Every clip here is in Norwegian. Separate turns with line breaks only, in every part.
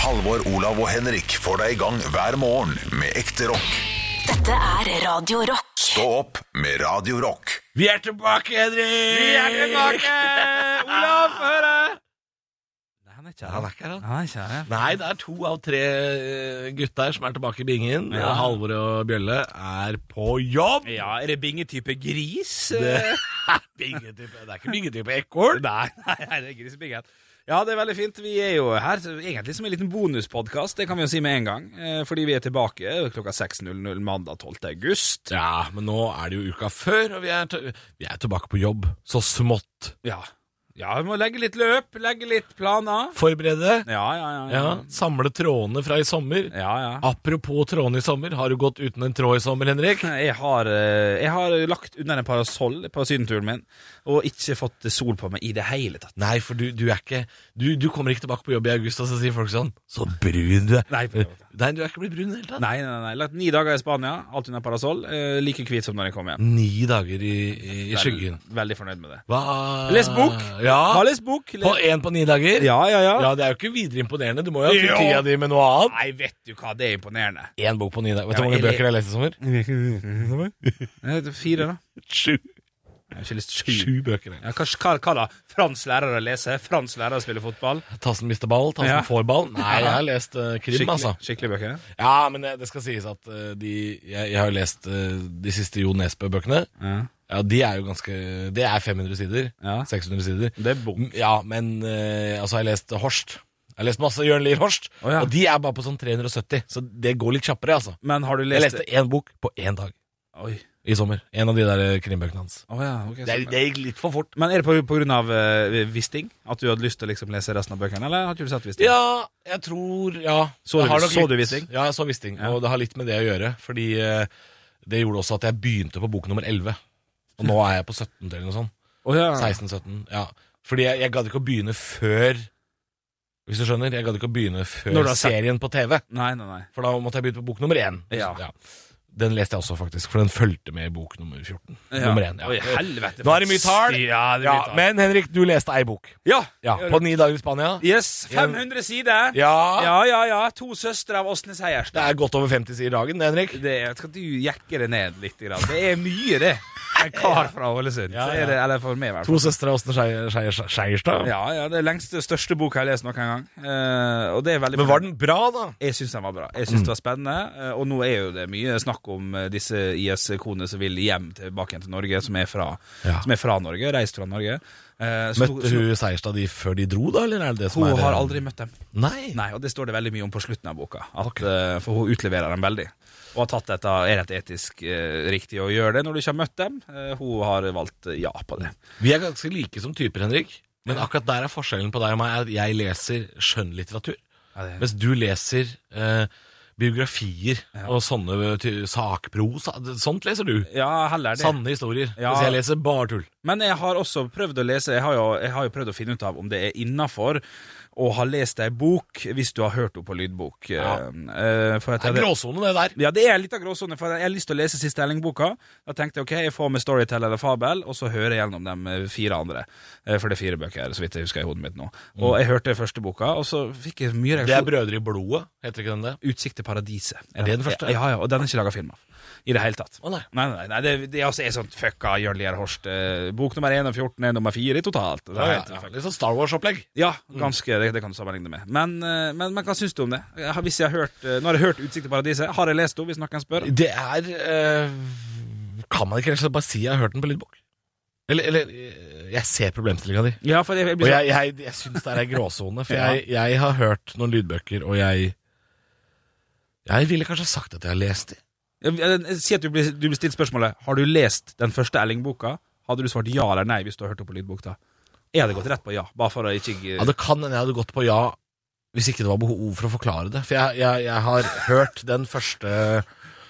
Halvor, Olav og Henrik får deg i gang hver morgen med ekte rock.
Dette er Radio Rock.
Stå opp med Radio Rock.
Vi er tilbake, Henrik! Vi
er tilbake!
Olav, hør her! Nei, han er ikke
Han er ikke her, han.
er ikke her. Nei, det er to av tre eh, gutter som er tilbake i bingen.
Ja.
Halvor og Bjølle er på jobb.
Ja, er det bingetype gris?
Det,
Eh,
bingetype, det er ikke bingetype ekorn.
Nei, nei, nei, det er grisebingen. Ja, det er veldig fint. Vi er jo her så egentlig som en liten bonuspodkast, det kan vi jo si med en gang. eh, Fordi vi er tilbake klokka 6.00 mandag 12. august.
Ja, men nå er det jo uka før, og vi er, til, vi er tilbake på jobb. Så smått.
Ja. ja, vi må legge litt løp, legge litt planer.
Forberede.
Ja, ja, ja.
Ja, samle trådene fra i sommer.
ja, ja.
Apropos trådene i sommer, har du gått uten en tråd i sommer, Henrik?
Jeg har, eh, jeg har lagt under en parasoll på sydenturen min, og ikke fått sol på meg i det hele tatt.
Nei, for du, du er ikke du, du kommer ikke tilbake på jobb i august, og så sier folk sånn Så brun du er.
Nei, på en måte.
Nei, du er ikke blitt brun i det hele tatt.
Nei, nei, nei. Lagt ni dager i Spania, alt under parasoll. Eh, like hvit som når jeg kom hjem.
Ni dager i, i, i
Vel-
skyggen.
Veldig fornøyd med det.
Hva
Les bok.
Ja.
Har lest bok.
På én på ni dager?
Ja, ja, ja.
Ja, det er jo ikke videre imponerende. Du må jo ha
Jo.
fylt tida di med noe annet.
Nei, vet du hva, det er imponerende.
Én bok på ni dager. Vet du
Ja,
hvor mange
eller-
bøker jeg leste i sommer?
Eh, det er Fire, da.
Sju.
Jeg har ikke lyst til sju.
Sju bøker. jeg.
Ja, hva, hva, hva da? Fransk lærer å lese, fransk lærer å spille fotball.
Tassen mister ball, tassen
Ja.
får ball. Nei, jeg har lest eh, krim, altså.
Skikkelig, skikkelig bøker.
Ja, men det, det skal sies at eh, de Jeg, jeg har jo lest eh, de siste Jo Nesbø-bøkene.
Ja.
Ja, de er jo ganske Det er 500 sider.
Ja.
600 sider.
Det er bok.
M- Mm, Ja, men eh, altså, jeg har lest Horst. Jeg har lest masse Jørn Lier Horst,
Å, ja.
og de er bare på sånn 370, så det går litt kjappere, altså.
Men har du
Jeg
lest
leste én bok på én dag
Oi.
i sommer. En av de der eh, krimbøkene hans.
Å ja, ok.
Det,
så-
det gikk litt for fort.
Men er det på, på grunn av eh, Wisting? At du hadde lyst til å liksom lese resten av bøkene, eller har ikke du sett Wisting?
Ja, jeg tror Ja.
Så du-
Det har nok
så
litt-
du Wisting?
Ja, jeg så Wisting,
Ja.
og det har litt med det å gjøre. Fordi eh, det gjorde også at jeg begynte på bok nummer 11. Og nå er jeg på 17 eller noe sånt.
Å, ja.
16-17, ja Fordi jeg, jeg gadd ikke å begynne før Hvis du skjønner, jeg gadd ikke å begynne
Når du
før
har sett-
serien på TV
Nei, nei, nei.
For da måtte jeg begynne på bok nummer 1
Ja.
Den leste jeg også faktisk, for den følte med i bok nummer 14 Nummer 1,
Oi,
ja
helvete.
Nå er det mye tall.
Ja, det er
ja,
mye tall.
men Henrik, du leste ei bok
Ja.
Ja, på ni dager i Spania
Yes, 500 sider.
Ja,
Ja, ja, ja. To søstre av Åsnes Heierstad.
det er godt over 50 sider dagen, det, Henrik
Det, jeg skal du jekke det ned litt. Grann. Det er mye, det. En kar fra Ålesund.
Ja,
så
ja.
er det, eller for meg, i hvert
To
fall.
søstre av Åsne Skeier- Skeier- Skjeierstad
Ja, ja, Det er lengste, største boka jeg har lest noen gang. Eh, og det er veldig
Men var den Mm. bra da?
Jeg syns den var bra. Jeg synes det var spennende. eh, Og nå er jo det mye snakk om eh, disse IS-konene som vil hjem tilbake igjen til Norge, som er fra,
Ja.
som er fra Norge, reist fra Norge. Eh, så-
Møtte hun Seierstad de før de dro da, eller er det det som
Hun
er
har aldri møtt dem.
Nei,
Nei, og det står det veldig mye om på slutten av boka. At, eh, for hun utleverer dem veldig. Og har tatt dette, er dette etisk eh, riktig å gjøre det når du ikke har møtt dem? Eh, hun har valgt eh, ja på det.
Vi er ganske like som typer, Henrik. Men akkurat der er forskjellen på deg og meg er at jeg leser skjønnlitteratur.
Men-
Mens du leser eh, biografier og sånne ty- sakprosa. Sånt leser du.
ja, heller det.
Sanne historier.
Ja.
Mens jeg leser bare tull.
Men jeg har også prøvd å lese Jeg har jo, jeg har jo prøvd å finne ut av om det er innafor å ha lest ei bok hvis du har hørt henne på lydbok. eh, eh, for at
Det er
jeg-
gråsone, det der.
Ja, det er litt av gråsone, for jeg har lyst til å lese siste Elling-boka. Da tenkte jeg ok, jeg får med Storytell eller Fabel, og så hører jeg gjennom de eh, fire andre. Eh, For det er fire bøker, så vidt jeg husker i hodet mitt nå. Og jeg hørte første boka, og så fikk jeg mye
Det er
reaksjon.
Brødre i blodet, heter ikke den det?
Utsikt til paradiset. Er
det den første?
Ja, ja, og den er ikke laga film av. I det hele tatt.
Å, nei.
Nei, nei, nei, det, det er altså er sånn fucka Jørn Lier Horst. eh, Bok nummer 1 og 14 er nummer 4 totalt. Det er
Ja,
helt
ja, ja. Litt sånn Star Wars-opplegg.
ja, ganske, det, det kan du sammenligne med. Men, eh, men, men hva syns du om det? Jeg har- Hvis jeg har hørt, eh, nå har jeg hørt 'Utsikt til paradiset'. Har jeg lest henne, hvis noen spør?
Det er eh, Kan man ikke rett og slett bare si jeg har hørt den på lydbok? Eller, eller eh, Jeg ser problemstillinga di.
Ja, for jeg, jeg blir
Og
så-
jeg, jeg, jeg syns det er ei gråsone, for
Ja.
jeg, jeg har hørt noen lydbøker, og jeg Jeg ville kanskje sagt at jeg har lest de.
Jeg- jeg- eh, Si at du blir, du blir stilt spørsmålet Har du lest den første Elling-boka. Hadde du svart ja eller nei hvis du har hørt det på lydbok? da? Jeg hadde gått rett på ja. Bare for å ikke eh,
Ja, det kan hende jeg hadde gått på ja hvis ikke det var behov for å forklare det. For jeg, jeg, jeg har hørt den første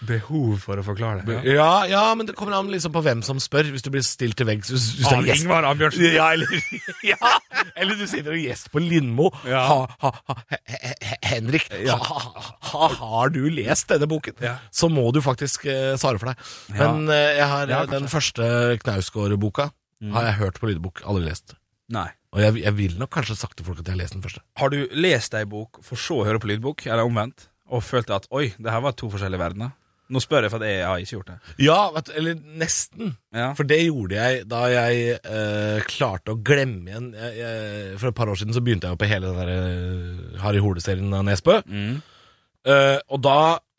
behov for å forklare det.
Ja, ja, men det kommer an liksom på hvem som spør. Hvis du blir stilt til veggs hvis, hvis det er gjest.
Ingvar Ambjørnsen.
Ja, eller, ja, eller du sitter og er gjest på Lindmo.
Ja.
Ha, ha, ha, he- he- he- Henrik, ha,
Ja.
ha, ha, har du lest denne boken?
Ja.
Så må du faktisk eh, svare for deg.
Ja.
Men eh, jeg har
Ja,
Mm. eh, den første Knausgård-boka har jeg hørt på lydbok, aldri lest.
Nei.
Og jeg, jeg vil nok kanskje ha sagt til folk at jeg har lest den første.
Har du lest ei bok, for så å høre på lydbok, eller omvendt, og følt at oi, det her var to forskjellige verdener? Nå spør jeg, for at jeg har ikke gjort det.
Ja, vet du, eller nesten.
Ja.
For det gjorde jeg da jeg eh, klarte å glemme igjen jeg, jeg, For et par år siden så begynte jeg jo på hele den der eh, Harry Hole-serien av Nesbø.
Mm.
Eh, og da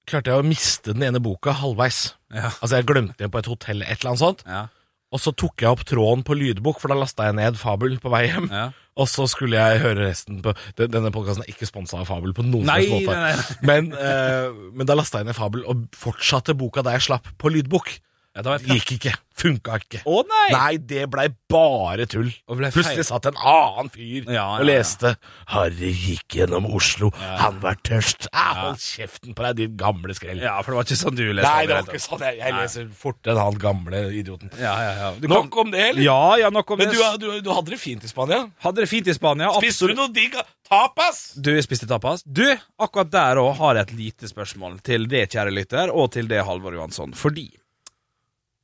klarte jeg å miste den ene boka halvveis.
Ja.
Altså Jeg glemte den på et hotell, et eller annet sånt.
Ja.
Og så tok jeg opp tråden på lydbok, for da lasta jeg ned Fabel på vei hjem.
Ja.
Og så skulle jeg høre resten på den- Denne podkasten er ikke sponsa av Fabel på noen som
Nei,
helst måte.
nei, nei.
Men, eh, men da lasta jeg ned Fabel og fortsatte boka der jeg slapp, på lydbok.
Ja, da var jeg
Gikk ikke. Funka ikke.
Å nei!
Nei, det blei bare tull.
Og ble feil.
Plutselig satt en annen fyr
Ja, ja,
og
ja.
leste 'Harry gikk gjennom Oslo, han var tørst'. Æ, hold kjeften på deg, din gamle skrell.
Ja, for det var ikke sånn du leste
Nei, det var
rett og
ikke
slett.
sånn. Jeg, jeg
Nei.
leser fort enn han gamle idioten.
Ja, ja, ja. Du
Nok om det, eller?
Ja, ja, nok om
Men
det.
du, du, du hadde det fint i Spania.
Hadde det fint i Spania.
Spiste du
absolutt.
noe digg tapas?
Du spiste tapas. Du, akkurat der òg har jeg et lite spørsmål til det, kjære lytter, og til det, Halvor Johansson. Fordi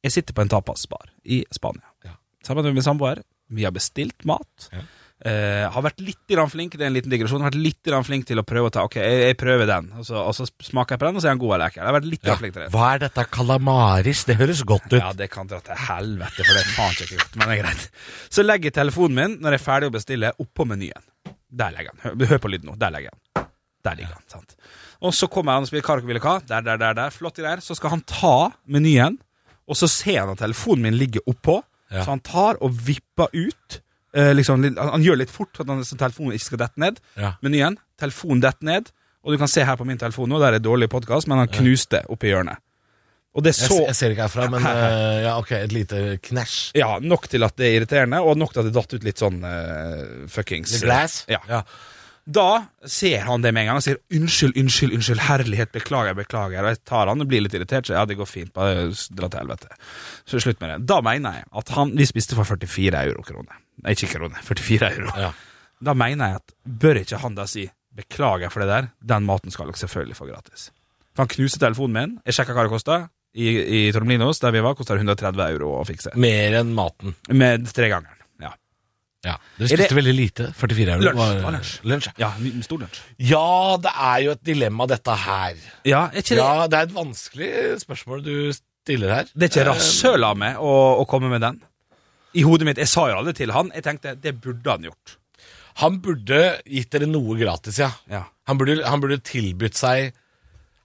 jeg sitter på en tapasbar i Spania.
Ja.
Sammen med min samboer. Vi har bestilt mat.
Ja.
Eh, har vært litt grann flink det er en liten digresjon, har vært litt grann flink til å prøve å ta Ok, jeg, jeg prøver den, og så, og så smaker jeg på den, og så er den god eller ikke. Jeg har vært litt grann flink til det.
Hva er dette calamaris? Det høres godt ut.
Ja, det kan dra til helvete, for det er faen ikke godt, men det er greit. Så legger jeg telefonen min, når jeg er ferdig å bestille, oppå menyen. Der legger jeg den. Hør, hør på lyden nå. Der legger jeg den. Der ligger han, sant. Og så kommer han og spiller Kark ville ka. Der, der, der, der. Flott greier. Så skal han ta menyen, og så ser han at telefonen min ligger oppå.
Ja.
Så han tar og vipper ut. Eh, liksom, litt- han, han gjør litt fort, så, at han, så telefonen ikke skal dette ned.
Ja.
Menyen. Telefonen detter ned. Og du kan se her på min telefon nå, der er dårlig podkast, men han knuste oppi hjørnet. Og det er
Jeg,
så
jeg ser ikke herfra, men eh, ja, ok, et lite knæsj.
Ja, nok til at det er irriterende, og nok til at det datt ut litt sånn eh, fuckings
The glass?
Ja. Da ser han det med en gang og sier 'unnskyld, unnskyld, unnskyld, herlighet, beklager, beklager'. Og jeg tar han og blir litt irritert, så ja, det går fint, bare dra til helvete. Så slutt med det. Da mener jeg at han Vi spiste for 44 eurokroner. Nei, ikke kroner. 44 euro.
Ja.
Da mener jeg at bør ikke han da si 'beklager for det der', den maten skal dere selvfølgelig få gratis. For han knuser telefonen min, jeg sjekker hva det koster. I, i Tormelinos, der vi var, koster det 130 euro å fikse.
Mer enn maten.
Med tregangeren. Ja.
Ja. Dere
Er det-
spiste veldig lite. 44 euro.
Lunsj,
var-
det var lunsj.
lunsj. ja.
ja, ny- stor lunsj.
Ja, det er jo et dilemma, dette her.
Ja, er ikke det,
Ja, det er et vanskelig spørsmål du stiller her.
det er ikke rasshøl av meg å, å komme med den. I hodet mitt, Jeg sa jo aldri til han. Jeg tenkte det burde han gjort.
Han burde gitt dere noe gratis, ja.
Ja.
Han burde, han burde tilbudt seg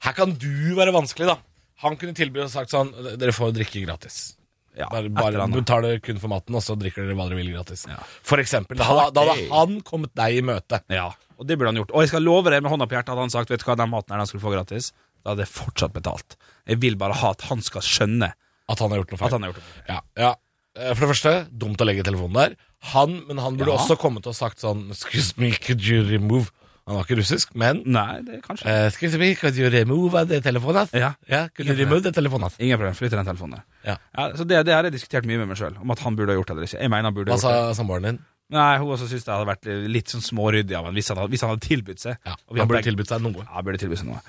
Her kan du være vanskelig, da. Han kunne tilbudt og sagt sånn Dere får drikke gratis.
Ja,
Bare,
et eller
bare
annet.
betaler kun for maten, og så drikker dere hva dere vil gratis.
Ja.
For eksempel. Da, hadde- da hadde han kommet deg i møte.
ja, og det burde han gjort. Og jeg skal love deg med hånda på hjertet hadde han sagt vet du hva, den maten her den skulle du få gratis, da hadde jeg fortsatt betalt. Jeg vil bare ha at han skal skjønne
At han har gjort noe
at
feil.
han har gjort det.
Ja, ja. Eh, For det første, dumt å legge telefonen der. Han, men han burde
Ja.
også kommet og sagt sånn Excuse me, could you remove Han var ikke russisk, men
Nei, det er kanskje
eh, Excuse me, could you remove the telephone? ass?»
Ja.
ja could you remove the telephone? ass?»
Ingen problem. Flytt den telefonen der.
Ja.
Ja, så det, det har jeg diskutert mye med meg sjøl, om at han burde ha gjort det eller ikke. Jeg mener han burde ha
Hva
gjort
sa
det.
samboeren din?
Nei, hun også syntes det hadde vært litt sånn småryddig av ham hvis, han hadde- hvis han hadde tilbudt seg.
Ja,
Og vi
han
hadde
burde
begge-
tilbudt seg noe.
Ja, burde tilby seg noe.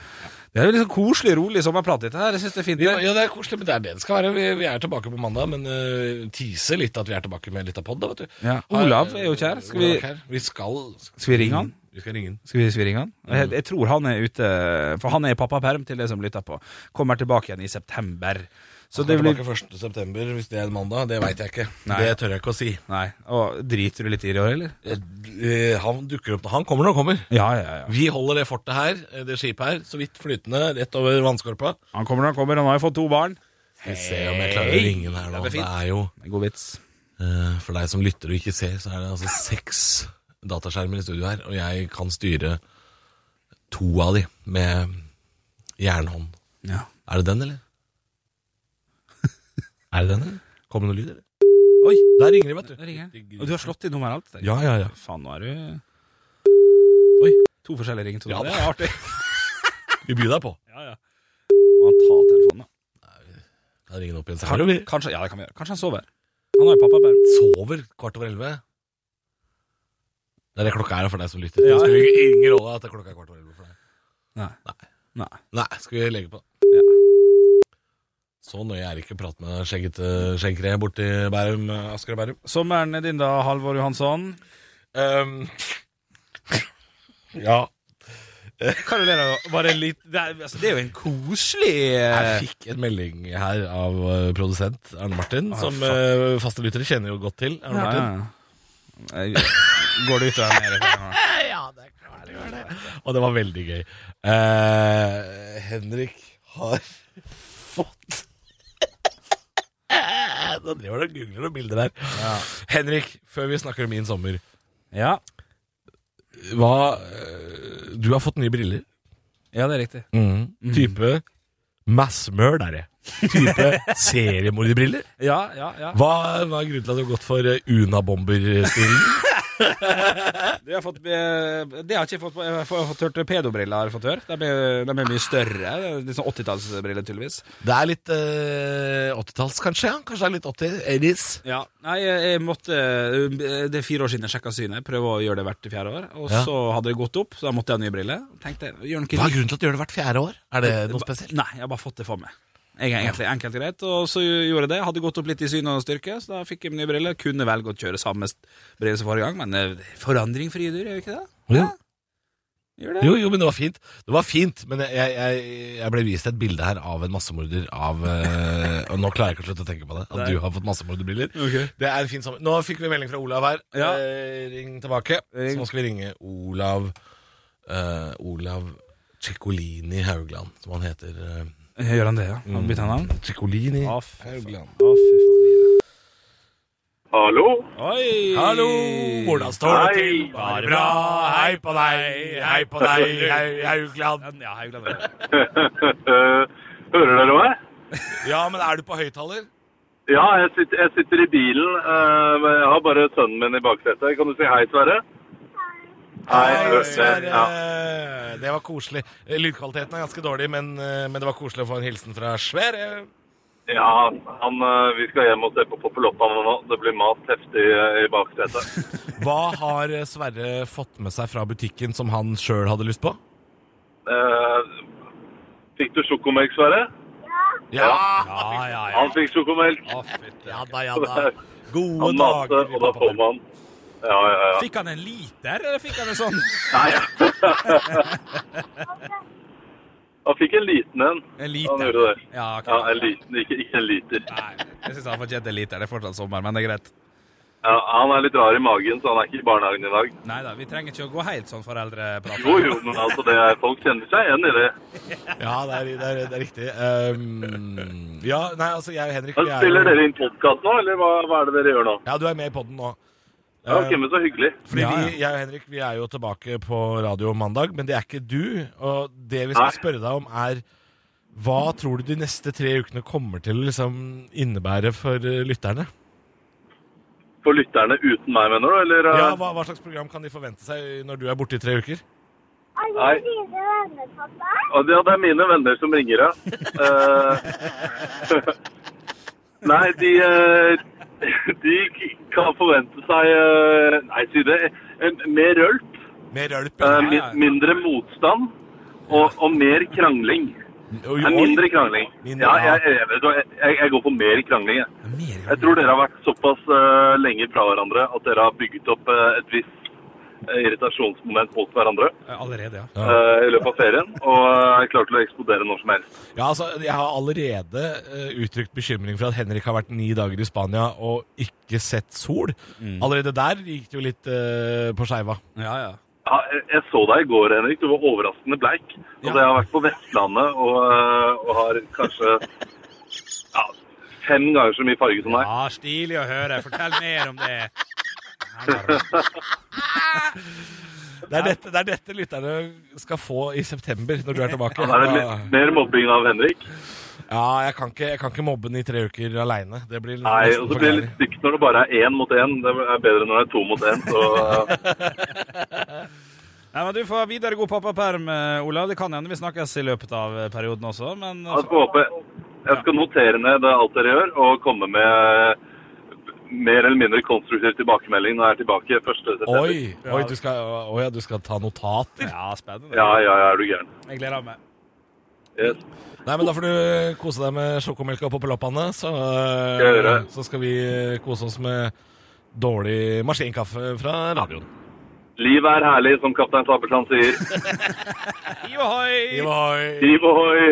Det er jo liksom koselig, rolig sommerprat, dette her. Jeg synes det er fint.
Jo, jo, det er koselig, men det er det det skal være. Vi, vi er tilbake på mandag, men uh, teaser litt at vi er tilbake med litt av pod, da, vet du.
Ja, Olav er jo ikke her. Skal vi,
Olav er her. vi skal
skal vi ringe han?
Vi skal ringe han.
Skal vi svirre ringe han?
Mm.
Jeg, jeg tror han er ute, for han er i pappaperm til det som lytter på. Kommer tilbake igjen i september. Så
Han
det
er
blir...
tilbake 1. september, hvis det er en mandag. Det veit jeg ikke.
Nei.
Det tør jeg ikke å si.
Nei, og driter du litt i det, eller?
Eh, Han dukker opp når han kommer når han kommer.
Ja, ja, ja.
Vi holder det fortet her, eh, det skipet her, så vidt flytende rett over vannskorpa.
Han kommer når han kommer, han har jo fått to barn.
Skal vi se om jeg klarer å ringe den her nå.
Det
Det
blir fint.
er jo,
God vits.
eh, for deg som lytter og ikke ser, så er det altså seks dataskjermer i studio her, og jeg kan styre to av de med jernhånd.
Ja.
Er det den, eller? er det den, eller? Kommer det noe lyd, eller?
Oi,
Der ringer de, vet du.
der ringer jeg. Og du har slått i nummer alt. tenker jeg.
Ja, ja, ja.
Faen, nå er du... Oi, to forskjellige ringetoner.
Ja,
det er artig.
Vi byr deg på.
Ja, ja. Må han ta telefonen, da?
Da ringer den opp igjen
Kan,
senere.
kanskje, ja, det kan vi gjøre. Kanskje han sover. Han har jo pappaperm.
sover kvart over elleve. Det er det klokka er for deg som lytter.
Ja.
Det spiller ingen- ingen rolle at det er klokka er kvart over elleve for deg.
Nei.
Nei.
Nei.
Nei, skal vi legge på?
Ja.
Så nøye er ikke prat med skjeggete skjeggkre borti Bærum, eh, Asker og Bærum.
Sommeren er din da, Halvor Johansson.
Ehm, ja.
Hva er det da? Var det, litt, det, er, altså, det er jo en koselig eh,
Jeg fikk en melding her av eh, produsent Arne Martin,
Ah,
som
fuck.
eh, faste lyttere kjenner jo godt til. Arne Martin.
Ja, ja. Jeg- Går det ut av mer?
Og det var veldig gøy. Eh, Henrik har fått Nå driver han og googler noen bilder der. Henrik, før vi snakker om min sommer
Ja.
hva, eh, Du har fått nye briller.
ja, det er riktig.
Mm. Type massmør, der jeg. Type seriemorderbriller.
Ja, ja, ja.
Hva, hva er grunnen til at du har gått for eh, Unabomber-stilen?
Du har fått, eh, det har ikke jeg fått, jeg har fått, jeg har fått hørt pedobriller. har jeg fått hørt. De er, de er mye større. Det er Litt sånn 80-tallsbriller, tydeligvis.
Det er litt eh, 80-talls, kanskje? ja? Kanskje det er litt 80 80s?
Ja, Nei, jeg, jeg måtte eh, Det er fire år siden jeg sjekka synet. Jeg prøver å gjøre det hvert fjerde år. Og
Ja.
så hadde det gått opp, så da måtte jeg ha nye briller. Tenkte, jeg, gjør noe
Hva er grunnen til at du gjør det hvert fjerde år? Er det noe spesielt?
Nei, jeg har bare fått det for meg. Jeg er egentlig enkelt og greit, og så gjorde jeg det. Hadde gått opp litt i syn og styrke, så da fikk jeg nye briller. Kunne velge å kjøre samme st- briller som forrige gang, men eh, forandring frie dyr, gjør vi ikke det?
Jo.
Ja. Gjør det.
Jo, jo, men det var fint. Det var fint, men jeg, jeg, jeg- jeg ble vist et bilde her av en massemorder av eh, Og nå klarer jeg ikke å slutte å tenke på det. At
Nei.
du har fått massemorderbriller.
Ok.
Det er en fin sammen. Nå fikk vi melding fra Olav her.
Ja.
Eh, ring tilbake.
Ring.
Så nå skal vi ringe Olav eh, Olav Ciccolini Haugland, som han heter. eh.
Gjør han det, ja?
Mm.
Har han bytta navn?
Ciccolini
Å, fy faen.
Haugland.
Å, fy faen.
Hallo?
Oi!
Hallo! Hvordan står det
Hei.
til? Bare bra. Hei på deg, hei på deg, Hau- Haugland.
Ja, Haugland. var det.
Eh, Hører dere meg?
Ja, men er du på høyttaler?
Ja, jeg sitter, jeg sitter i bilen. eh, men jeg har bare sønnen min i baksetet. Kan du si hei, Sverre?
Hei,
hørte-
Sverre.
Ja.
eh, Det var koselig. Lydkvaliteten er ganske dårlig, men, eh, men det var koselig å få en hilsen fra Sverre.
ja han, eh, vi skal hjem og se på Popeloppa nå. Det blir mast heftig eh, i baksetet.
Hva har eh, Sverre fått med seg fra butikken som han sjøl hadde lyst på?
Eh, fikk du sjokomelk, Sverre?
Ja!
Ja, ja, ja.
Han fikk sjokomelk.
Å, fytti.
Ja da, ja da. Gode
Han maste,
dager.
og da
pappa.
kom han. Ja, ja, ja.
Fikk han en liter, eller fikk han en sånn?
Han fikk en liten en.
En
Han
liter.
gjorde det.
Ja, ok.
Ja, en liten, ikke, ikke en liter.
Nei, jeg syns han fortjente en liter. Det er fortsatt sommer, men det er greit.
Ja, han er litt rar i magen, så han er ikke i barnehagen i dag.
Nei da, vi trenger ikke å gå helt sånn foreldreprat.
Jo, jo, men altså, det er, folk kjenner seg igjen i det.
Ja, det er, det er, det er riktig. Um, ja, nei, altså, jeg og Henrik
Men
vi er
Spiller
jo-
dere inn podkast nå, eller hva, hva er det dere gjør nå?
Ja, du er med i poden nå.
Ja, ok, men så hyggelig.
Fordi
Ja, ja.
Vi, jeg og Henrik vi er jo tilbake på radio mandag, men det er ikke du. Og det vi skal
Nei.
spørre deg om, er hva tror du de neste tre ukene kommer til å liksom, innebære for eh, lytterne?
For lytterne uten meg, mener du? Eller? eh,
Ja, hva, hva slags program kan de forvente seg når du er borte i tre uker?
Nei.
Alle dine venner, pappa.
Og det, ja, det er mine venner som ringer, ja. Eh, nei, de, eh, de kan forvente seg eh, Nei, si det. en- Mer rølp,
Mer rølp?
eh,
ja.
mi- mindre motstand og, og mer krangling.
Oi,
Nei,
oi.
mindre krangling.
Mindre,
Ja,
ja.
jeg, jeg, vet du hva, jeg, jeg går for mer krangling, jeg.
Mer
Jeg tror dere har vært såpass eh, lenge fra hverandre at dere har bygget opp eh, et visst eh, irritasjonsmoment mot hverandre
Allerede, ja.
Ja.
eh, i løpet av ferien, og eh, er klar til å eksplodere når som helst.
Ja, altså, jeg har allerede eh, uttrykt bekymring for at Henrik har vært ni dager i Spania og ikke sett sol.
Mm.
Allerede der gikk det jo litt eh, på skeiva.
Ja, ja.
Ja, jeg, jeg så deg i går, Henrik. Du var overraskende bleik. Og
Ja.
jeg har vært på Vestlandet og, eh, og har kanskje ja, fem ganger så mye farge som deg.
Ja, Stilig å høre. Fortell mer om det. Ja,
Det er dette, det er dette lytterne skal få i september, når du er tilbake.
Da er det
Ja.
mer- mer mobbing av Henrik.
Ja, jeg kan ikke, jeg kan ikke mobbe den i tre uker aleine. Det blir
Nei,
nesten
og så
for
blir det
gærlig.
litt stygt når det bare er én mot én. Det er bedre når det er to mot én. Så eh,
men du får videre god pappaperm, eh, Olav. Det kan hende vi snakkes i løpet av eh, perioden også, men
Jeg skal håpe Jeg skal notere ned det alt dere gjør, og komme med mer eller mindre konstruktiv tilbakemelding når jeg er tilbake 1. september.
Oi, oi, du skal, oi, ja, du skal ta notater?
Ja, spennende.
Ja, ja, ja, er du gæren.
Jeg gleder meg.
Yes.
Nei, men Da får du kose deg med sjokomelka på polappene, så, eh,
Skal jeg gjøre.
så skal vi eh, kose oss med dårlig maskinkaffe fra radioen.
Livet er herlig, som kaptein Sabeltann sier.
Johoi!
Ivar.
Hiv ohoi!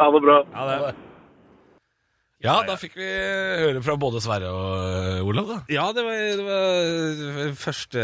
Ha det bra.
Ja, det,
Ja, da fikk vi høre fra både Sverre og eh, Olav, da.
ja, det var, det var første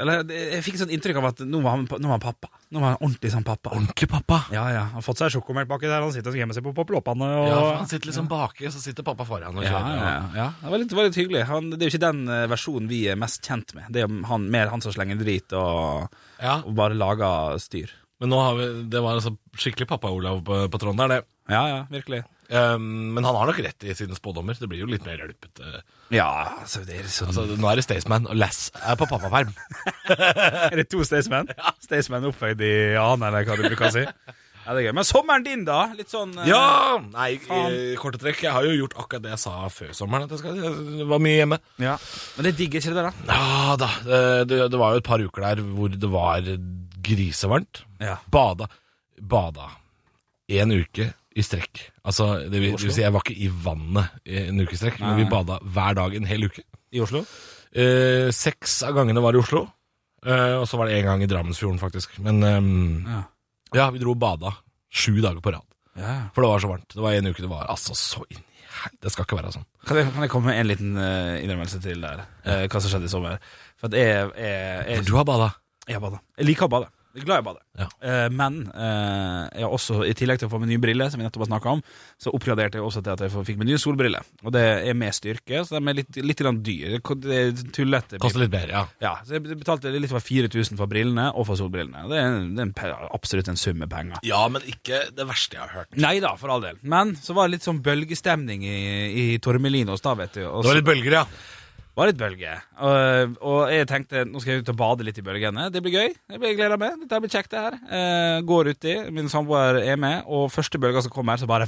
Eller det- jeg fikk sånn inntrykk av at nå var han, pa- nå var han pappa. Nå var han ordentlig sånn pappa.
Ordentlig pappa.
Ja, ja. Han har fått seg sjokomelk baki der. Han sitter og gjemmer seg på poploppene. Og...
Ja, for han sitter liksom baki, så sitter pappa foran og
Ja,
kjører.
ja, ja. Det var litt, det var litt hyggelig. Han, det er jo ikke den eh, versjonen vi er mest kjent med. Det er jo han, mer han som slenger drit og,
Ja,
og bare lager styr.
Men nå har vi, det var altså skikkelig pappa-Olav på, på tråden der, det.
Ja, ja, virkelig.
Ehm, men han har nok rett i sine spådommer. Det blir jo litt mer hjelpete.
Ja, altså, det er sånn
Altså, nå er det Staysman, og Lass er på pappaperm.
Er det to Staysman? Staysman oppføyd i annen, eller hva du bruker å si. Ja, det er gøy. Men sommeren din, da? Litt sånn eh,
Ja! Nei,
Faen.
i korte trekk. Jeg har jo gjort akkurat det jeg sa før sommeren. At jeg, skal, jeg var mye hjemme.
ja. Men det digger ikke det, da?
Ja da. Det, det, det var jo et par uker der hvor det var grisevarmt.
Ja.
Bada. Bada. En uke i strekk. Altså, det vil, det vil si, jeg var ikke i vannet i en uke i strekk, men vi bada hver dag en hel uke.
I Oslo?
Eh, seks av gangene var i Oslo. Eh, og så var det én gang i Drammensfjorden, faktisk. Men ehm,
Ja.
ja, vi dro og bada sju dager på rad.
ja.
For det var så varmt. Det var en uke det var altså så inn i hel- Det skal ikke være sånn.
Kan jeg, kan jeg komme med en liten eh, innrømmelse til der? Eh, hva som skjedde i sommer? For at jeg, jeg, jeg,
For du har bada.
Jeg bader. Jeg liker å bade. Jeg er glad i å bade.
Ja.
Eh, men eh, jeg har også, i tillegg til å få meg nye briller, som vi nettopp har snakka om, så oppgraderte jeg også til at jeg fikk meg nye solbriller. Og det er med styrke, så de er litt, litt grann dyre. Det er tullete.
Koster litt mer, ja.
Ja, så jeg betalte litt over 4000 for brillene og for solbrillene. Det er, en- det er en, pe- absolutt en sum med penger.
Ja, men ikke det verste jeg har hørt.
Nei da, for all del. Men så var det litt sånn bølgestemning i, i Tormelinos da, vet du. Og
Det
så-
var litt bølger, ja.
var litt bølge. Og, og jeg tenkte nå skal jeg ut og bade litt i bølgene. Det blir gøy. Jeg blir gleder meg. Dette blir kjekt, det her. Eh, går uti. Min samboer er med, og første bølga som kommer, så bare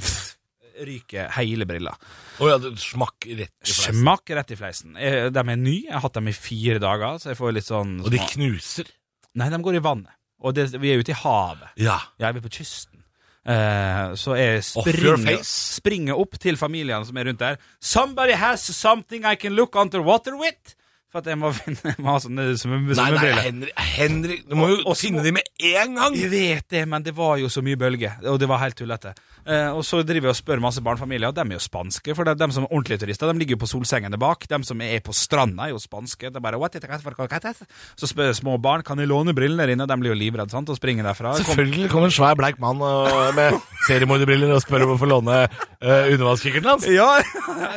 ryker hele brilla.
Å ja, det smakk rett i fleisen.
Smakk rett i fleisen. Jeg, de er nye. Jeg har hatt dem i fire dager, så jeg får litt sånn
Og de knuser.
Nei, de går i vannet. Og det, vi er ute i havet.
Ja.
Jeg er på kysten. Eh, så jeg
Off your
springer,
face.
springer opp til familien som er rundt der. Somebody has something I can look underwater with! For at jeg må finne jeg må ha sånne
Nei,
svømme-
nei,
svømmebriller.
Henrik, Henrik Du må jo
Og- og
finne
små-
de med en gang!
Jeg vet det, men det var jo så mye bølger, og det var helt tullete. Eh, og så driver jeg og spør masse barnefamilier, og de er jo spanske. For det er de som er ordentlige turister, de ligger jo på solsengene bak. De som er på stranda, er jo spanske. Det er bare, What is it, what is it? Så spør jeg små barn kan jeg låne brillene dine, og de blir jo livredde sant? og springer derfra. Kom-
Selvfølgelig kommer en svær bleik mann og- med seriemorderbriller og spør om å få låne uh, undervannskikkerten hans.
Ja,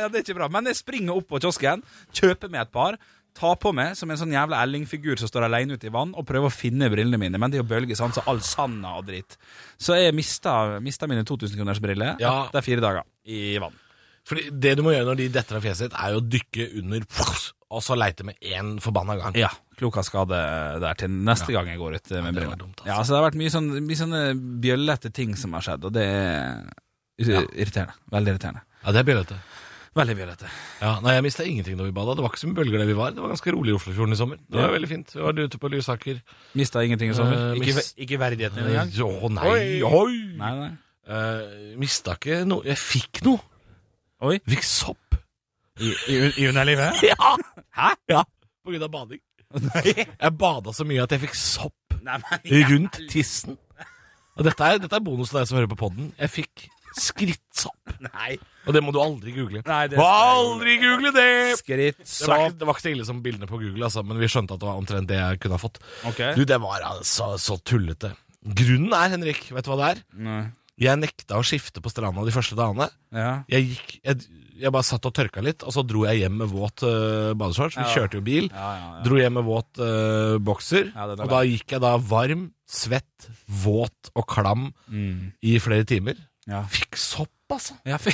ja, det er ikke bra. Men jeg springer opp på kiosken, kjøper meg et par, tar på meg som en sånn jævla Elling-figur som står alene ute i vann, og prøver å finne brillene mine. Men det er jo bølger, sant, så all sanda og dritt. Så jeg mista, mista mine 2000 kroners briller
Ja.
etter fire dager i vann.
Fordi Det du må gjøre når de detter av fjeset ditt, er jo å dykke under og så leite med én forbanna gang.
Ja, klok av skade der til neste gang jeg går ut eh, med
det var
briller.
dumt, altså.
Ja, så det har vært mye, sånn, mye sånne bjøllete ting som har skjedd, og det er irriterende. Veldig irriterende.
Ja, det er bjøllete.
Veldig bjøllete.
Ja, nei, jeg mista ingenting da vi bada. Det var ikke så mye bølger der vi var. Det var ganske rolig i Oslofjorden i sommer. Det var veldig fint. Vi var ute på Lysaker.
Mista ingenting i
Eh,
sommer.
mist-
verdigheten
Eh, Å nei,
Oi.
oi!
Nei, nei.
Eh, mista ikke noe. Jeg fikk noe.
Oi.
Fikk sopp.
I, i, i underlivet?
Ja!
Hæ?
ja. På grunn av bading. Jeg bada så mye at jeg fikk sopp
Nei, men
rundt tissen. Og dette er, dette er bonus til deg som hører på podden. Jeg fikk skrittsopp.
Nei.
Og det må du aldri google.
Nei, det
må
skal
aldri google det!
Skritt,
Det var,
sopp
ikke, det var ikke så ille som bildene på Google, altså, men vi skjønte at det var omtrent det jeg kunne ha fått.
Ok.
Du, Det var altså så tullete. Grunnen er, Henrik, vet du hva det er?
Nei.
Jeg nekta å skifte på stranda de første dagene.
Ja.
Jeg, gikk, jeg, jeg bare satt og tørka litt, og så dro jeg hjem med våt øh, badeshorts. Vi
Ja.
kjørte jo bil.
Ja, ja, ja.
Dro hjem med våt øh, bokser.
Ja, det er
og da gikk jeg da varm, svett, våt og klam
Mm.
i flere timer.
Ja.
Fikk sopp, altså!
Ja, fy-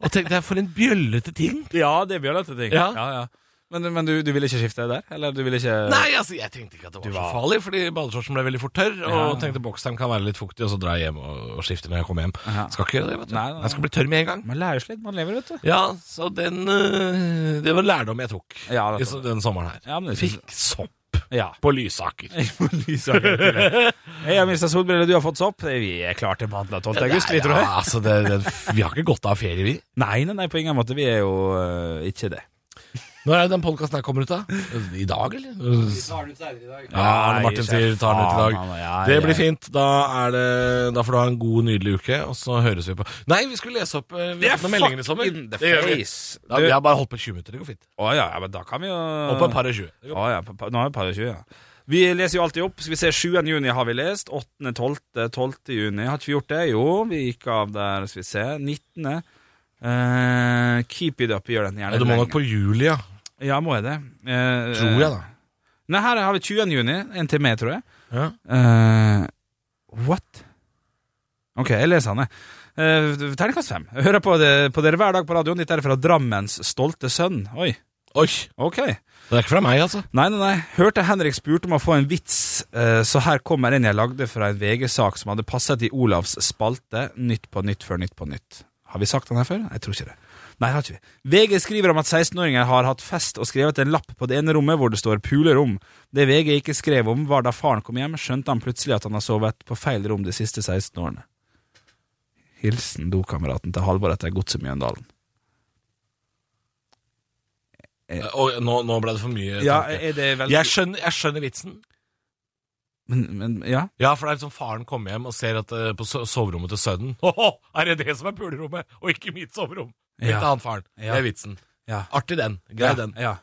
Og tenkte jeg, for en bjøllete ting!
ja, det er bjøllete ting.
Ja.
Ja, ja. Men, men du, du ville ikke skifte der? Eller du ville ikke
Nei, altså, jeg tenkte ikke at det var,
var-
så farlig, fordi badeshortsen ble veldig fort tørr, og
Ja.
tenkte bokseren kan være litt fuktig, og så drar jeg hjem og, og skifter når jeg kommer hjem.
Ja.
Skal ikke gjøre det, vet du.
Nei, nei, nei.
Jeg skal bli tørr med en gang.
Man lærer seg litt, man lever, vet du.
Ja, så den øh, Det var lærdom jeg tok
Ja,
i
det
så, den sommeren her.
Ja, men Liksom, det-
Fikk sopp.
Ja.
på Lysaker.
Jeg har mista solbriller, du har fått sopp. Vi er klare til mandag 12. august, vi, tror jeg.
Ja, altså, det, det, vi har ikke godt av ferie, vi.
Nei, nei, nei, på ingen måte. Vi er jo øh, ikke det.
Når er det den podkasten her kommer ut, da? I dag, eller? Ja, Arne Martin
Nei,
sier tar den ut i
faen, han,
dag.
ja,
Det
ja.
blir fint. Da, er det, da får du ha en god, nydelig uke, og så høres vi på Nei, vi skulle lese opp eh, vi har fått noen meldinger i sommer.
Fucking the
Det gjør vi.
face.
Da,
Du-
vi har bare holdt på 20 minutter. Det går fint.
Å ja, ja, men da kan vi jo
Opp på et par og 20. Det går
Å ja, pa- pa- nå er vi par og 20, ja. Vi leser jo alltid opp. Skal vi se, 7. juni har vi lest. 8., 12., 12. juni. Har ikke vi gjort det? Jo, vi gikk av der, skal vi se. 19. Eh, keep it up, gjør den
Ja,
gjerne.
du må
lenge.
nok på Julia,
Ja, må jeg det? Eh,
tror jeg, da.
Nei, her har vi 20. juni. En til meg, tror jeg.
Ja.
Eh, what? Ok, jeg leser han, jeg. Uh, Terningkast fem. Jeg Hører på, det, på dere hver dag på radioen. Dette er fra Drammens stolte sønn. Oi,
Oi!
ok.
Det er ikke fra meg, altså.
Nei, nei, nei. Hørte Henrik spurte om å få en vits, eh, så her kommer en jeg lagde fra en VG-sak som hadde passet i Olavs spalte Nytt på nytt før Nytt på nytt. Har vi sagt den her før? Jeg tror ikke det. Nei, det har ikke vi. VG skriver om at 16-åringer har hatt fest og skrevet en lapp på det ene rommet hvor det står 'pulerom'. Det VG ikke skrev om, var da faren kom hjem, skjønte han plutselig at han har sovet på feil rom de siste 16 årene. Hilsen dokameraten til Halvor etter Godset Mjøndalen.
Eh, Og nå, nå ble det for mye.
Ja,
tanke.
er det veldig
jeg, skjønner, jeg skjønner vitsen.
men, men, ja.
Ja, for det er liksom faren kommer hjem og ser at eh, på so- soverommet til sønnen Åhå, er det det som er pulerommet, og ikke mitt soverom? Litt
Ja.
annet faren.
Ja.
Det er vitsen.
ja.
Artig den. Grei den.
Ja.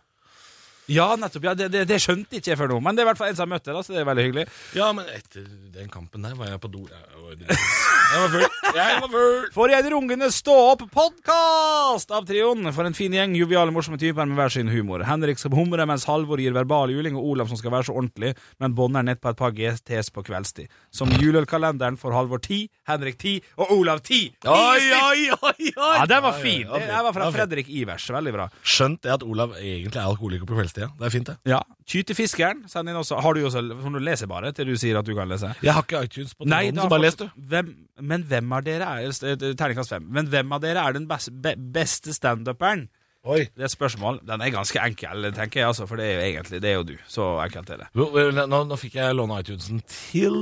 ja, nettopp. Ja, det, det, det skjønte ikke jeg før nå, men det er i hvert fall en som har møtt deg, da, så det er veldig hyggelig.
Ja, men etter den kampen der var jeg på do. Jeg var- jeg var full. Jeg var full.
For jeg rungende stå opp podkast av trioen! For en fin gjeng joviale, morsomme typer med hver sin humor. Henrik skal humre, mens Halvor gir verbal juling, og Olav som skal være så ordentlig, men bånder ned på et par GTs på kveldstid. Som juleølkalenderen får Halvor 10, Henrik 10 og Olav 10!
Oi, oi, oi, oi.
Ja, den var fin!
Ja, ja, ja,
Det her var fra
ja, fin.
Fredrik Ivers. Veldig bra.
Skjønt det at Olav egentlig er alkoholiker på kveldstida. Det er fint, det.
Ja. Kytefiskeren send inn også. Har du også for Du leser bare til du sier at du kan lese.
Jeg har ikke iTunes på
Nei,
telefonen,
da
så
har
bare les,
folk-
du.
Hvem, men hvem av dere er eh, Terningkast fem. Men hvem av dere er den beste, be, beste standuperen?
Oi.
Det er et spørsmål. Den er ganske enkel, tenker jeg, altså, for det er jo egentlig det er jo du. Så enkelt er det.
Jo, vel, Nå, nå fikk jeg låne iTunesen til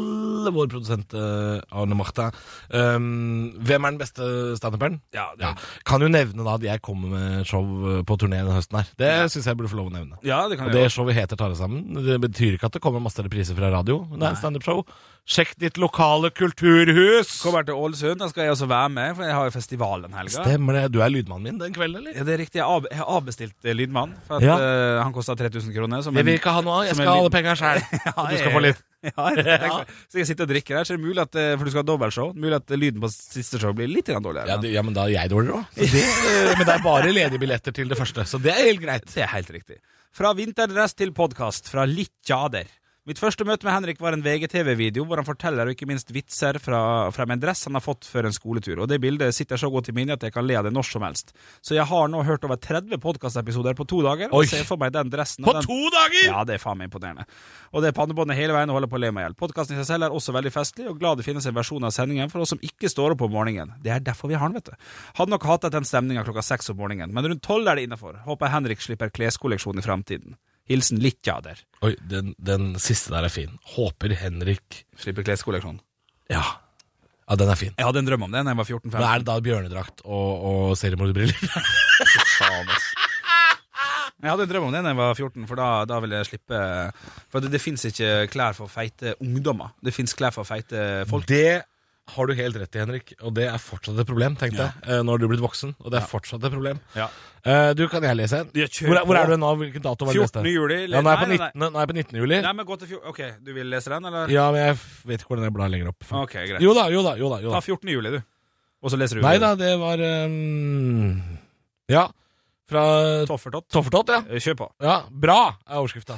vår produsent eh, Arne Martha. Um, hvem er den beste standuperen?
Ja, det-
ja. Kan jo nevne da at jeg kommer med show eh, på turné denne høsten her. Det synes syns jeg burde få lov å nevne.
Ja, det kan
Og
jeg
det
gjøre.
showet heter Tare sammen. Det betyr ikke at det kommer masse repriser fra radio. men Det er en standup-show. Sjekk ditt lokale kulturhus!
Kommer til Ålesund, da skal jeg også være med, for jeg har jo festival den helga.
Stemmer det. Du er lydmannen min den kvelden, eller?
Ja, det er riktig. Jeg av- jeg har avbestilt eh, Lydmann, for at,
Ja.
eh, han kosta 3000 kroner. Som
Jeg vil
en-
ikke ha noe av. Jeg
som en
skal ha
lyd-
alle pengene sjæl.
Ja,
Du
jeg-
skal få litt.
Ja, jeg tenker det. Så jeg sitter og drikker her, så er det mulig at eh, For du skal ha dobbeltshow. Mulig at eh, lyden på siste show blir litt grann dårligere.
Ja,
men-
det, ja, men da er jeg dårligere òg. Men det er bare ledige billetter til det første, så det er helt greit.
Det er helt riktig. Fra vinterdress til podkast, fra Littjader. Mitt første møte med Henrik var en VGTV-video hvor han forteller og ikke minst vitser fra, fra en dress han har fått før en skoletur, og det bildet sitter så godt i minnet at jeg kan le av det når som helst. Så jeg har nå hørt over 30 podkastepisoder på to dager,
Oi.
og ser for meg den dressen
På
og den
to dager!
ja, det er faen meg imponerende. Og det er pannebåndet hele veien og holder på å le meg i hjel. Podkasten i seg selv er også veldig festlig, og glad det finnes en versjon av sendingen for oss som ikke står opp om morgenen. Det er derfor vi har den, vet du. Hadde nok hatet den stemninga klokka seks om morgenen, men rundt tolv er det innafor. Håper Henrik slipper kleskolleksjon i framtiden. Hilsen Littjader.
Oi, den, den siste der er fin. Håper Henrik
Slipper kleskolleksjon.
Ja. Ja, den er fin.
Jeg hadde en drøm om det da jeg var 14-15.
Men er det da bjørnedrakt og, og seriemorderbriller?
Faen, ass. Jeg hadde en drøm om det da jeg var 14, for da, da ville jeg slippe For det, det fins ikke klær for feite ungdommer. Det fins klær for feite folk.
Det har du helt rett i, Henrik, og det er fortsatt et problem, tenkte jeg. Eh, Nå har du blitt voksen, og det er fortsatt et problem.
Ja.
Eh, Du, kan jeg lese en?
Ja, kjør
Hvor, er- hvor
på.
er du nå? Hvilken dato var det
14. juli.
Ja, nå er jeg på
Nei, nei, nei.
19. Nå er jeg på 19. juli.
Nei, men gå til fjor... Ok, du vil lese den, eller?
Ja, men jeg vet ikke hvordan jeg blar lenger opp.
Ok, Ah, greit.
Jo da, jo da, jo da. Jo da.
Ta 14. juli, du. Og så leser du
Nei da, det var ehm, Ja. Fra
Toffertott.
Toffertott, ja.
Eh, Kjør på.
ja. Bra er overskrifta.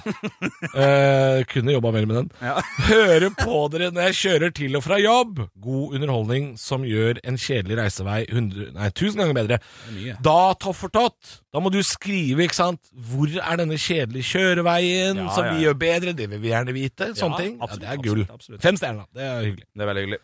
Eh, kunne jobba mer med den.
Ja.
Hører på dere når jeg kjører til og fra jobb. God underholdning som gjør en kjedelig reisevei 100, nei, 1000 ganger bedre.
Mye.
Da, Toffertott, da må du skrive, ikke sant. Hvor er denne kjedelige kjøreveien
Ja,
som
ja,
vi
ja.
gjør bedre? Det vil vi gjerne vite. Sånne
Ja,
ting. ja,
absolutt,
det er gull.
absolutt, absolutt.
Fem stjerner, da. Det er hyggelig.
Det er veldig hyggelig.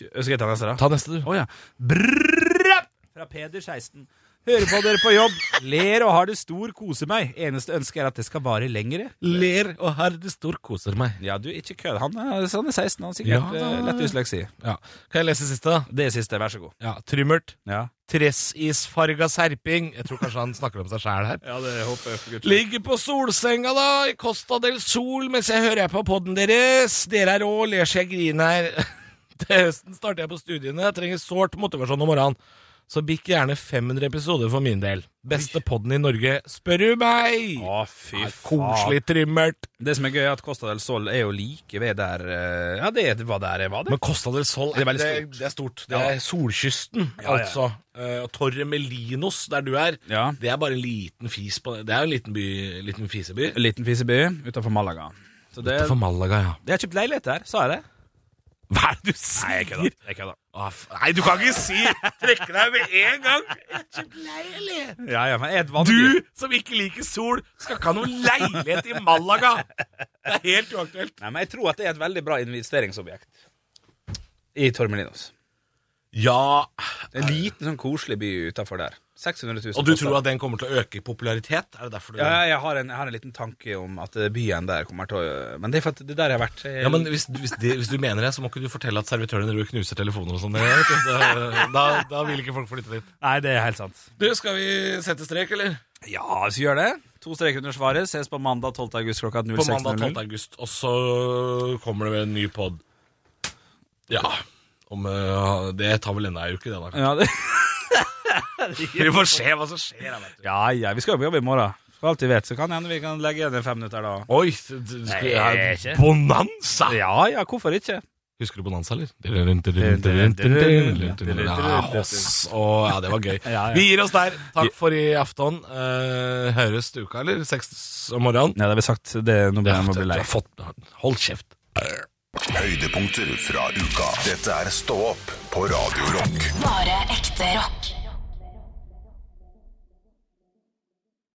Kjø- Skal jeg ta neste, da?
Ta neste, du.
Å ja. Brrrr! Fra Peder 16. Hører på dere på jobb, ler og har det stor, koser meg. Eneste ønske er at det skal vare lengre.
Ler og herr, det storkoser meg.
Ja, du, ikke kødd. Han, er- han er 16, han har sikkert
Ja,
ja,
da-
lett dysleksi.
Ja. Kan jeg lese siste, da?
Det siste, vær så god.
Ja, Trymmert.
Ja,
Tressisfarga serping. Jeg tror kanskje han snakker om seg sjæl her.
det håper jeg.
Ligger på solsenga, da, i Costa del Sol, mens jeg hører på podden deres. Dere er rå, ler så jeg griner. Til høsten starter jeg på studiene. Jeg trenger sårt motivasjon om morgenen. Så bikk gjerne 500 episoder for min del. Beste podden i Norge, spør du meg!
Å, fy
Ja,
faen.
Koselig trymmert.
Det som er gøy, er at Costa del Sol er jo like ved der eh, Ja, det var der jeg var, det.
Men Costa del Sol
Det er veldig
det, det er stort. Det er solkysten,
Ja, ja.
altså. Eh, Og Torre Melinos, der du er,
Ja.
det er bare en liten fis på Det er jo en liten, by, liten fiseby.
En liten fiseby utenfor Malaga. Så det,
Utenfor Malaga, ja.
jeg har kjøpt leilighet der, sa jeg det? Ah.
Hva er det du sier?
Nei, jeg kødder. Jeg kødder.
Å, f- Nei, du kan ikke si Trekke deg med en gang!
Ja, ja, men jeg er et vampyr.
Du som ikke liker sol, skal ikke ha noen leilighet i Malaga! Det er helt uaktuelt.
Nei, men jeg tror at det er et veldig bra investeringsobjekt i Tormelinos.
Ja,
En liten, sånn koselig by utenfor der. 600 000
Og du tror at den kommer til å øke i popularitet? Er det derfor du
ja, jeg, har en, jeg har en liten tanke om at eh, byen der kommer til å Men det er for at det der jeg har vært. eh,
Ja, men hvis, du- hvis, det, hvis du mener det, så må ikke du fortelle at servitøren din knuser telefoner og sånn. Det- det- Da, da vil ikke folk flytte dit.
Nei, det er helt sant.
Du, skal vi sette strek, eller?
Ja, så gjør det. To streker under svaret. Ses på mandag 12. august klokka
På mandag 12.
06.00.
august. Og så kommer det vel en ny pod. Ja. Om, eh, det tar vel enda ei uke, det da.
Ja, det-
Vi får se hva som skjer. da, vet du.
ja, ja, vi skal jo på jobb i morgen. For alt vi vet, så kan det hende vi kan legge igjen i fem minutter da.
Oi! d- d- skal jeg ha
Nei, ikke.
Bonanza!
Ja ja, hvorfor ikke?
Husker du Bonanza, eller? Ja, Hoss. Å, ja, det var gøy.
Ja, ja.
Vi gir oss der. Takk for i aften. Eh, høres til uka, eller? Seks om morgenen?
Nei, det har vi sagt. Det, nå blir jeg må bli
du
lei.
har fått, hold kjeft.
Høydepunkter fra uka. Dette er Stå opp på Radio Rock.
Bare ekte rock.